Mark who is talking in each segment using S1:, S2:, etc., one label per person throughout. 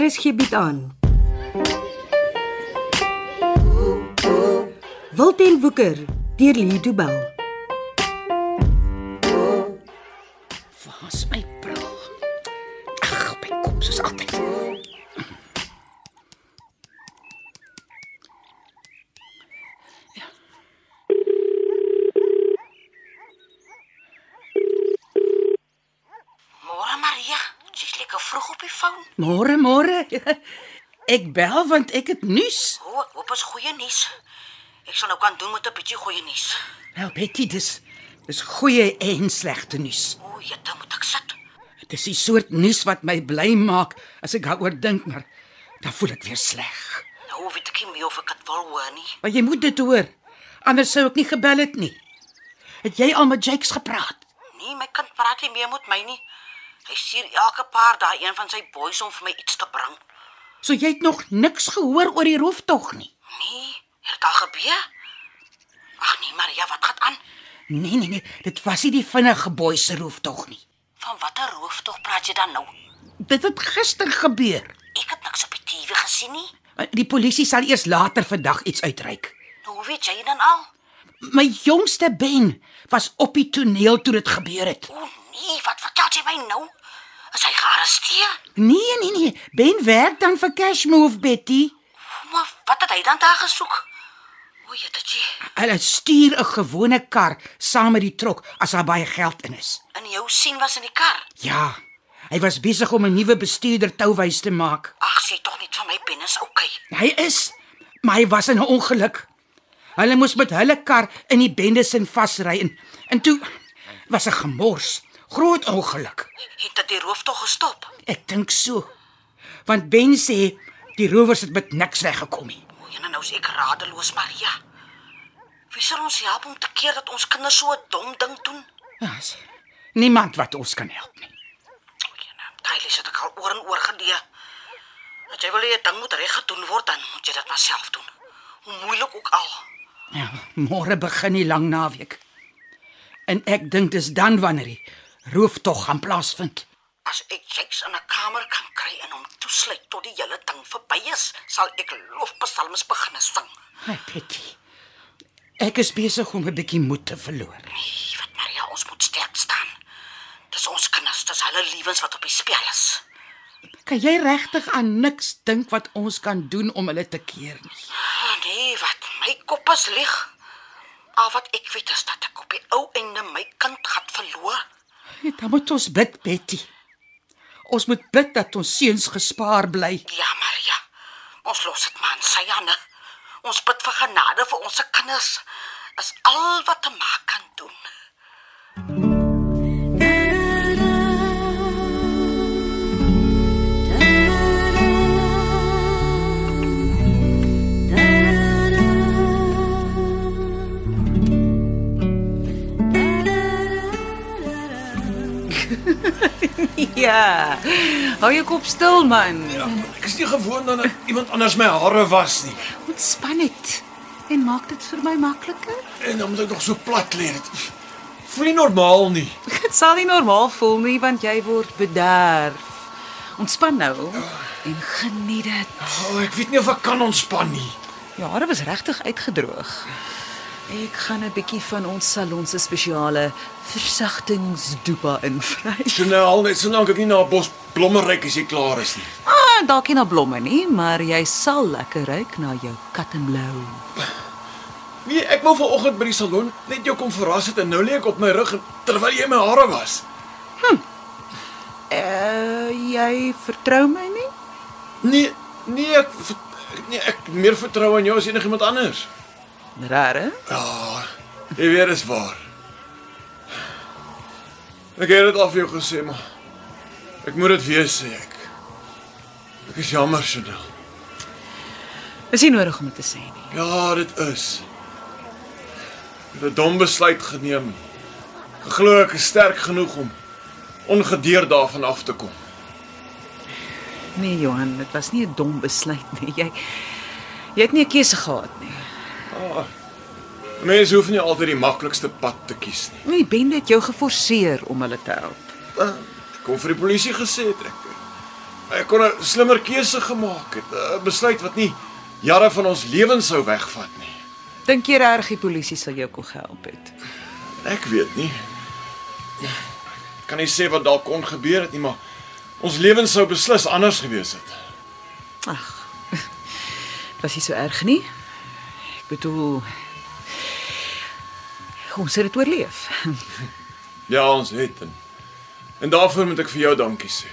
S1: Res gee bied Er aan. Wilten Woeker deur Lee Du Bell.
S2: Waar's my bril? Ag, op my kop soos altyd. Ja.
S3: Môre Maria, jy's lekker vroeg op die foon.
S2: Môre, môre. Ek bel want ek het nuus.
S3: O, ek hoop is goeie nuus. Ek sal nou kan doen met 'n bietjie goeie nuus.
S2: Nou Betty, dis dis goeie en slegte nuus.
S3: O, jette, moet ek sit.
S2: Dit is die soort nuus wat my bly maak as ek daaroor dink, maar dan voel ek weer sleg.
S3: Nou weet ek nie meer of ek dit wil hoor nie.
S2: Maar jy moet dit hoor. Anders sou ek nie gebel het nie. Het jy al met Jakes gepraat?
S3: Nee, my kind praat nie meer met my nie. Hy stuur elke paar dae een van sy boys om vir my iets te bring.
S2: So jy het nog niks gehoor oor die rooftog nie.
S3: Nee, het dit al gebeur? Ag nee, Maria, wat gaan aan?
S2: Nee nee nee, dit was nie die vinnige boy se rooftog nie.
S3: Van watter rooftog praat jy dan nou?
S2: Dit het gister gebeur.
S3: Ek het niks op die TV gesien nie.
S2: Die polisie sal eers later vandag iets uitreik.
S3: Nou hoe weet jy dan al?
S2: My jongste Ben was op die toneel toe dit gebeur het.
S3: O nee, wat vertel jy my nou? Is hy gearresteer?
S2: Nee nee nee, Ben werk dan vir Cashmove Betty.
S3: Maar wat het hy dan daar gesoek? O, ja, jette,
S2: Hulle stuur 'n gewone kar saam met die trok as daar baie geld in is.
S3: en jou sien was in die kar.
S2: Ja. Hy was besig om 'n nuwe bestuurder touwys te maak.
S3: Ag, sê tog net van my pennis, okay.
S2: Hy is, maar hy was in 'n ongeluk. Hulle moes met hulle kar in die bendes in vasry en en toe was 'n gemors, groot ongeluk.
S3: Het dit die rooftog gestop?
S2: Ek dink so. Want Ben sê die rowers het met niks weggekom nie.
S3: O, jene, nou is ek radeloos, Maria. Wie sal ons help om te keer dat ons kinders so 'n dom ding doen?
S2: Daar's niemand wat ons kan help nie.
S3: O, jene, daai lees ja, nou, het ek al oor en oor gelee. As jy wil hê 'n ding moet reg gedoen word, dan moet jy dit maar self doen. Hoe moeilik ook al.
S2: Ja, môre begin die lang naweek. En ek dink dis dan wanneer die rooftog gaan plaasvind.
S3: As ek Jakes in 'n kamer kan kry en hom toesluit tot die hele ding verby is, sal ek lofpsalms begin sing.
S2: Ai, Petty. Ek is besig om 'n bietjie moed te verloor.
S3: Nee, wat Maria, ons moet sterk staan. Dis ons kinders, dis hulle lewens wat op die spel is.
S2: Kan jy regtig aan niks dink wat ons kan doen om hulle te keer nie?
S3: Oh, nee, wat my kop is lig. Al wat ek weet is dat ek op die ou einde my kind gaan verloor.
S2: Dan moet ons bid, Betty. Ons moet bid dat ons seuns gespaar bly.
S3: Ja, Maria. Ons los dit maar aan sy hande. Ons bid vir genade vir ons se kinders. Is al wat te maak kan doen.
S4: Ja. Hou jou kop stil man.
S5: Ja, ek is nie gewoond aan dat iemand anders my hare was nie.
S4: Ontspan dit. En maak dit vir my makliker.
S5: En dan moet ek nog so plat lê. Dit voel nie normaal nie.
S4: Dit sal nie normaal voel nie want jy word bederf. Ontspan nou en geniet dit.
S5: Oh, ek weet nie of ek kan ontspan nie.
S4: Jou hare was regtig uitgedroog. Ek gaan 'n bietjie van ons salon se spesiale versagtingsdoepa invryf.
S5: Chanel, Nou, net solank ek nie na 'n bos blomme ryk as jy klaar is nie.
S4: Ah, dalk nie na blomme nie, maar jy sal lekker ruik na jou kat en blou.
S5: Nee, ek wou vanoggend by die salon net jou kom verras het en nou lê ek op my rug en- terwyl jy my hare was.
S4: Hm. Eh, jy vertrou my nie?
S5: Nee, nee, ek ver- nee, ek meer vertrou aan jou as enigiemand anders.
S4: Rare.
S5: Ja, jy weet dis waar. Ek het dit al vir jou gesê, maar ek moet dit weer sê ek. Ek is jammer, Chanel.
S4: Is nie nodig om dit te sê nie.
S5: Ja, dit is. Ek het 'n dom besluit geneem. Geglo ek is sterk genoeg om ongedeerd daarvan af te kom.
S4: Nee, Johan, dit was nie 'n dom besluit nie. Jy jy het nie 'n keuse gehad nie.
S5: Ah, Mense hoef nie altyd die maklikste pad te kies nie.
S4: Nie
S5: eh,
S4: bende het jou geforseer om hulle te help.
S5: Ek Kom vir die polisie gesê het ek. Ek kon 'n slimmer keuse gemaak het, 'n besluit wat nie jare van ons lewens sou wegvat nie.
S4: Dink jy regtig die polisie sal jou kon help het?
S5: Ek weet nie. Ek kan nie sê wat dalk kon gebeur het nie, maar ons lewens sou beslis anders gewees het.
S4: Ag. Was nie so erg nie. Ek bedoel ons het dit oorleef.
S5: Ja, ons het en, en daarvoor moet ek vir jou dankie sê.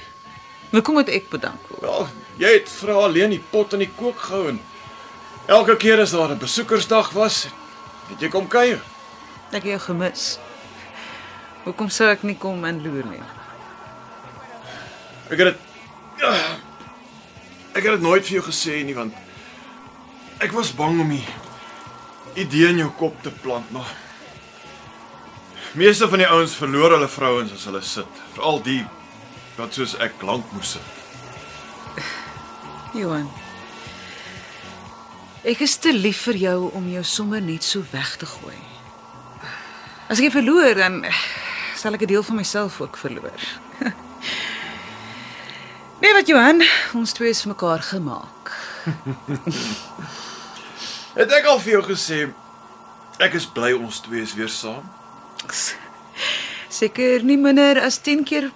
S4: Hoekom moet ek bedank word?
S5: Wel, jy het vir haar alleen die pot in die kook gehou en elke keer as daar 'n besoekersdag was, het jy kom kuier.
S4: Ek het jou gemis. Hoekom sou ek nie kom inloer nie?
S5: Ek het dit Ek het dit nooit vir jou gesê nie want ek was bang om die idee in jou kop te plant, maar meeste van die ouens verloor hulle vrouens as hulle sit, veral die wat soos ek lank moes sit.
S4: Johan. Ek is te lief vir jou om jou sommer net so weg te gooi. As ek jou verloor, dan eh, sal ek 'n deel van myself ook verloor. nee, wat Johan, ons twee is vir mekaar gemaak.
S5: Het ek al vir jou gesê ek is bly ons twee is weer saam?
S4: Seker nie minder as 10 keer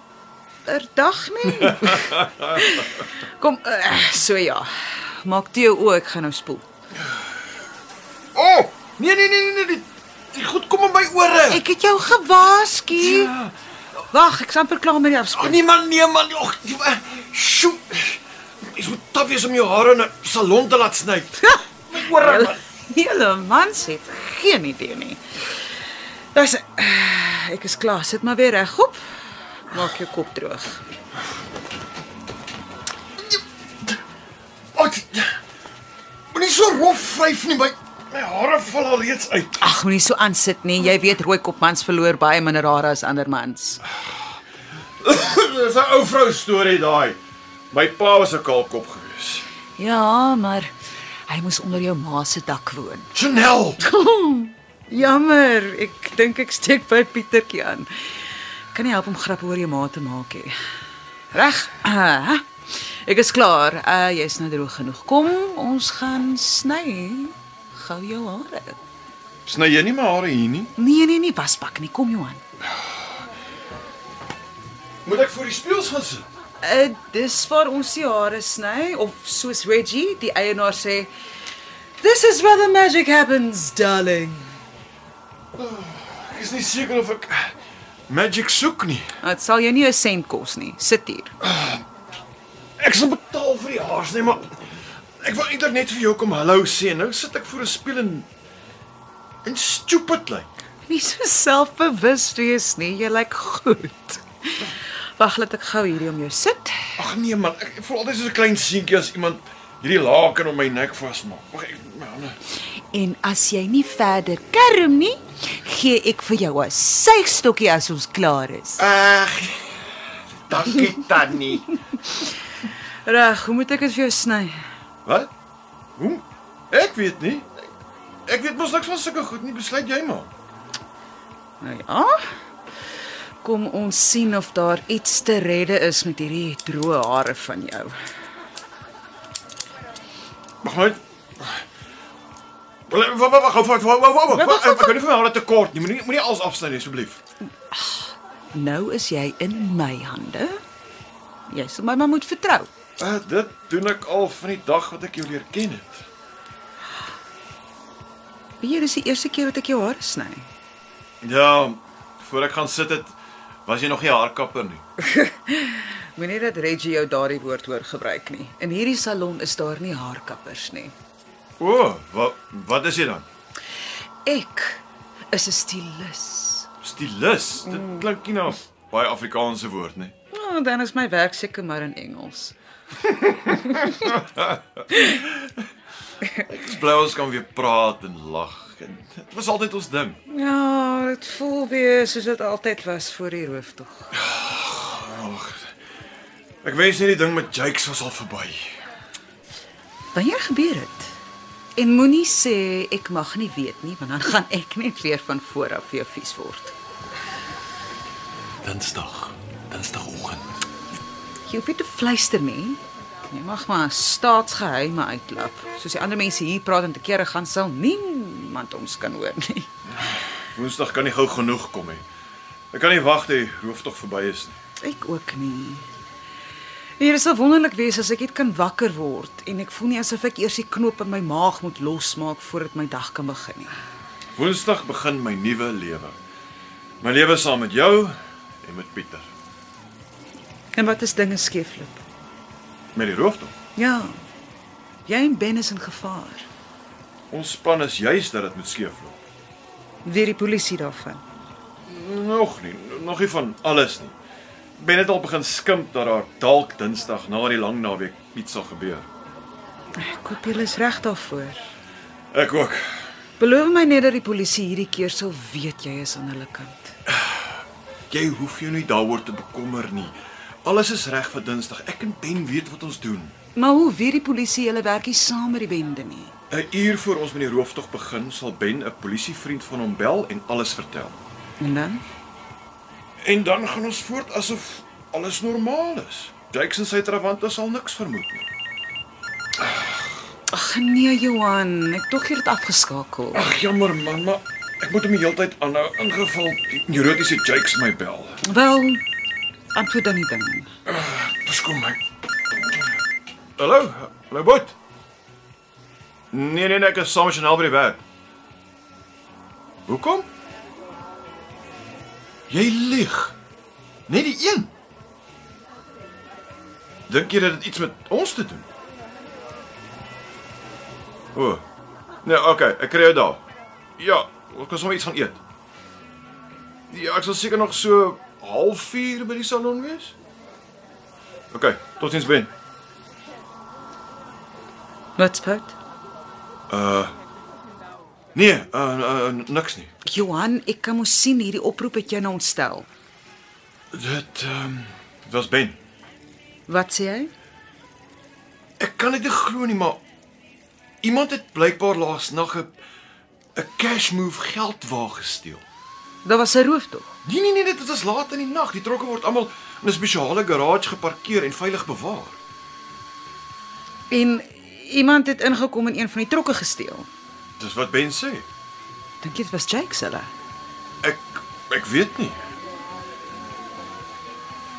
S4: per dag nie. Kom, eh, so ja. Maak toe jou oë, ek gaan nou spoel.
S5: O, oh, nee nee nee nee, nee, die, die goed kom in my ore.
S4: Ek het jou gewaarsku.
S5: Ja.
S4: Wag, ek is amper klaar met die afspraak.
S5: Ag nee man, nee man, ag, die- eh, sjoe. Is hoe taaf is om jou hare in 'n salon te laat sny. My ore man.
S4: Hele mans het geen idee nie. Dis eh, ek is klaar. Sit maar weer regop. Maak jou kop droog.
S5: Ag. Moenie so rof vryf nie, my my hare val al reeds uit.
S4: Ag, moenie so aansit nie. Jy weet rooi kop mans verloor baie minder hare as ander mans.
S5: Dis 'n ou vrou storie daai. My pa was 'n kaalkop gewees.
S4: Ja, maar hy moes onder jou ma se dak woon.
S5: Chanel.
S4: Jammer, ek dink ek steek by Pietertjie aan. Kan nie help om grap oor jou ma te maak nie. Reg. Ah, Ek is klaar. Uh, Jy's nou droog genoeg. Kom, ons gaan sny. Gou jou hare.
S5: Sny nou jy nie my hare hier nie?
S4: Nee, nee, nee, wasbak nie. Kom Johan.
S5: Moet ek voor die spieëls gaan sit?
S4: Uh, dis waar ons die hare sny of soos Reggie, die eienaar sê, "This is where the magic happens, darling."
S5: Ek is nie seker of ek eh, magic soek nie.
S4: Dit sal jou nie 'n sent kos nie. Sit hier.
S5: Ek sal betaal vir die haars, nee, maar ek wou eintlik net vir jou kom hallo sê. Nou sit ek voor 'n spieël en en stupid lyk. Like.
S4: Nie so selfbewus wees nie. Jy lyk goed. Wag, laat ek gou hierdie om jou sit.
S5: Ag nee man, ek ek voel altyd soos 'n klein seentjie as iemand hierdie laken om my nek vasmaak. Mag ek nou, my hande?
S4: En as jy nie verder kerm nie, gee ek vir jou 'n suigstokkie as ons klaar is.
S5: Ag. Dankie Tannie.
S4: Reg, hoe moet ek dit vir jou sny?
S5: Wat? Hoe? Ek weet nie. Ek- Ek weet mos niks van sulke goed nie. Besluit jy maar.
S4: Nou ja. Kom ons sien of daar iets te redde is met hierdie droë hare van jou.
S5: Mag net Wag wag wag wag wag wag wag wag. Ek kan nie vir my hande te kort nie. Moenie moenie alles afsny nie asseblief.
S4: Nou is jy in my hande. Jy sal my maar moet vertrou.
S5: Ah, dit doen ek al van die dag wat ek jou leer ken het.
S4: Weet jy, dis die eerste keer wat ek jou hare sny.
S5: Ja, voor ek gaan sit het, was jy nog nie 'n haarkapper nie.
S4: Moenie dat Reggie jou daardie woord hoor gebruik nie. In hierdie salon is daar nie haarkappers nie.
S5: O, oh, wat wat is jy dan?
S4: Ek is 'n stylis.
S5: Stylus. Dit Hmm. klink nie na 'n baie Afrikaanse woord nee. nie.
S4: Nou, oh, dan is my werk seker maar in Engels.
S5: Ek is bly ons kan weer praat en lag. En Dit was altyd ons ding.
S4: Ja, dit voel weer soos dit altyd was voor die rooftog.
S5: Ek wens net die ding met Jakes was al verby.
S4: Wanneer gebeur dit? En moenie sê ek mag nie weet nie, want dan gaan ek net weer van voor af vir jou vies word.
S5: Dinsdag. Dinsdagoggend.
S4: Jy hoef nie te fluister nie. Jy mag maar staatsgeheime uitlap. Soos die ander mense hier praat en te kere gaan sal niemand ons kan hoor nie.
S5: Woensdag kan nie gou genoeg kom nie. Ek kan nie wag dat die rooftog verby is nie.
S4: Ek ook nie. Hier is al wonderlik wees as ek net kan wakker word en ek voel nie asof ek eers die knoop in my maag moet losmaak voordat my dag kan begin nie.
S5: Woensdag begin my nuwe lewe. My lewe saam met jou en met Pieter.
S4: En wat is dinge skeefloop?
S5: Met die rooftog.
S4: Ja. Jy en Ben is in gevaar.
S5: Ons plan is juis dat dit moet skeefloop.
S4: Weer die polisie daarvan.
S5: Nog nie, nog nie van alles nie. Ben het al begin skimp dat daar dalk Dinsdag na die lang naweek iets sal gebeur.
S4: Ek hoop julle is reg daarvoor.
S5: Ek ook.
S4: Beloof my net dat die polisie hierdie keer sal weet jy is aan hulle kant.
S5: Jy hoef jou nie daaroor te bekommer nie. Alles is reg vir Dinsdag. Ek en Ben weet wat ons doen.
S4: Maar hoe weet die polisie hulle werk nie saam met die bende nie?
S5: 'n Uur voor ons met die rooftog begin, sal Ben 'n polisievriend van hom bel en alles vertel.
S4: En dan?
S5: En dan gaan ons voort asof alles normaal is. Dykes en sy trawante sal niks vermoed nie.
S4: Ag nee Johan, ek tog jy het afgeskakel.
S5: Ag jammer man, maar ek moet hom die hele tyd aanhou ingeval die neurotiese Jakes my bel.
S4: Wel, antwoord dan die ding.
S5: Verskoon my. Hallo, hallo bot. Nee nee, nee, ek is saam met Chanel by die werk. Hoekom? Jy lieg. Net die een. Dink jy dat dit iets met ons te doen? O. Oh. Nee, okay, ek kry jou daar. Ja, ons kan sommer iets gaan eet. Ja, ek sal seker nog so 0.5 by die salon wees. OK, tot sins Ben.
S4: Wat spout?
S5: Nee, uh, uh niks nie.
S4: Johan, ek kan mos sien hierdie oproep het jou nou ontstel.
S5: Dit ehm um, dit was Ben.
S4: Wat sê jy?
S5: Ek kan dit nie glo nie, maar iemand het blykbaar laas nag 'n 'n cash move geldwa gesteel.
S4: Daar was 'n roof tog.
S5: Nee nee nee, dit was laat in die nag. Die trokke word almal in 'n spesiale garage geparkeer en veilig bewaar.
S4: En iemand het ingekom en een van die trokke gesteel.
S5: Dis wat Ben sê.
S4: Dink jy dit was Jake se hulle?
S5: Ek ek weet nie.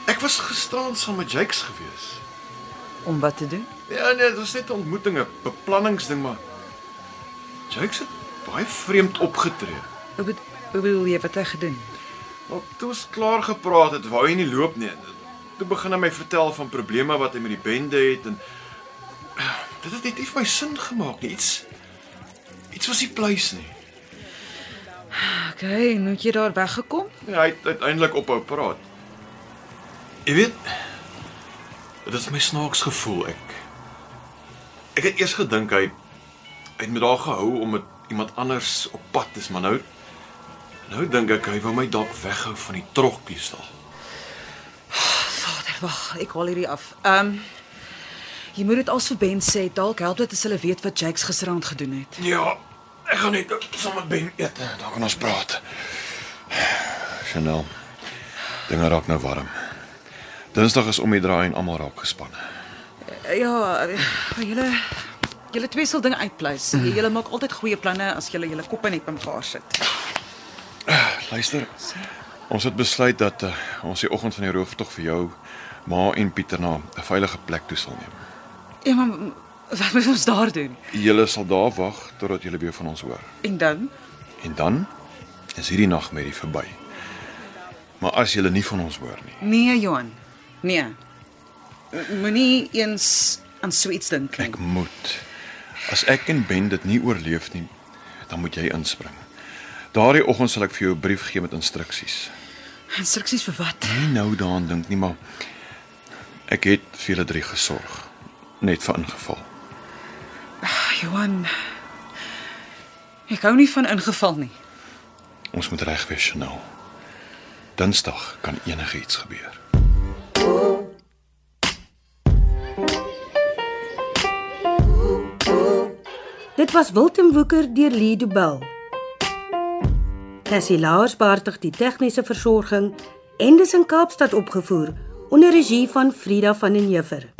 S5: Ek was gisteraan saam met Jakes gewees.
S4: Om wat te doen?
S5: Ja nee, dit was net 'n ontmoeting, 'n beplanningsding maar Jakes het baie vreemd opgetree.
S4: Hoe bedo- hoe bedoel jy wat hy gedoen het?
S5: Maar toe ons klaar gepraat het, wou hy nie loop nie. Toe begin hy my vertel van probleme wat hy met die bende het en dit het net nie vir my sin gemaak nie. Iets iets was nie pleis nie.
S4: Okay, en hoe het jy daar weggekom?
S5: Ja, hy het uiteindelik ophou praat. Jy weet, dit het my snaaks gevoel ek. Ek het eers gedink hy hy het met haar gehou om met iemand anders op pad is, maar nou nou dink ek hy wou my dalk weghou van die trokkiestal.
S4: Vader, wag, ek haal hierdie af. Ehm um, Jy moet dit als vir Ben sê, dalk help dit as hulle weet wat Jakes gisterand gedoen het.
S5: Ja, ek gaan net saam met Ben eet, dan kan ons praat. Chanel. Dinge raak nou warm. Dinsdag is om die draai en almal raak gespanne.
S4: Ja, julle julle twee sal dinge uitpleis. Julle maak altyd goeie planne as julle julle koppe net bymekaar sit.
S5: Luister. Ons het besluit dat uh, ons die oggend van die rooftog vir jou ma en Pieter na 'n veilige plek toe sal neem.
S4: Ja, maar m- wat moet ons daar doen?
S5: Julle sal daar wag totdat julle weer van ons hoor.
S4: En dan?
S5: En dan is hierdie nagmerrie verby. Maar as julle nie van ons hoor nie,
S4: Nee, Johan. Nee. M- Moenie eens aan so iets dink nie.
S5: ek moet. As ek en Ben dit nie oorleef nie, dan moet jy inspring. Daardie oggend sal ek vir jou 'n brief gee met instruksies.
S4: Instruksies vir wat?
S5: Nie nou daaraan dink nie, maar ek het vir julle drie gesorg, net vir ingeval.
S4: Ag, Johan. Ek hou nie van ingeval nie.
S5: Ons moet reg wees, Chanel. Dinsdag kan enigiets gebeur.
S1: Dit was Wilten Woeker deur Lee Du Bell. Cassie Lars beheer die tegniese versorging en dis in Kaapstad opgevoer onder regie van Frida van den Heever.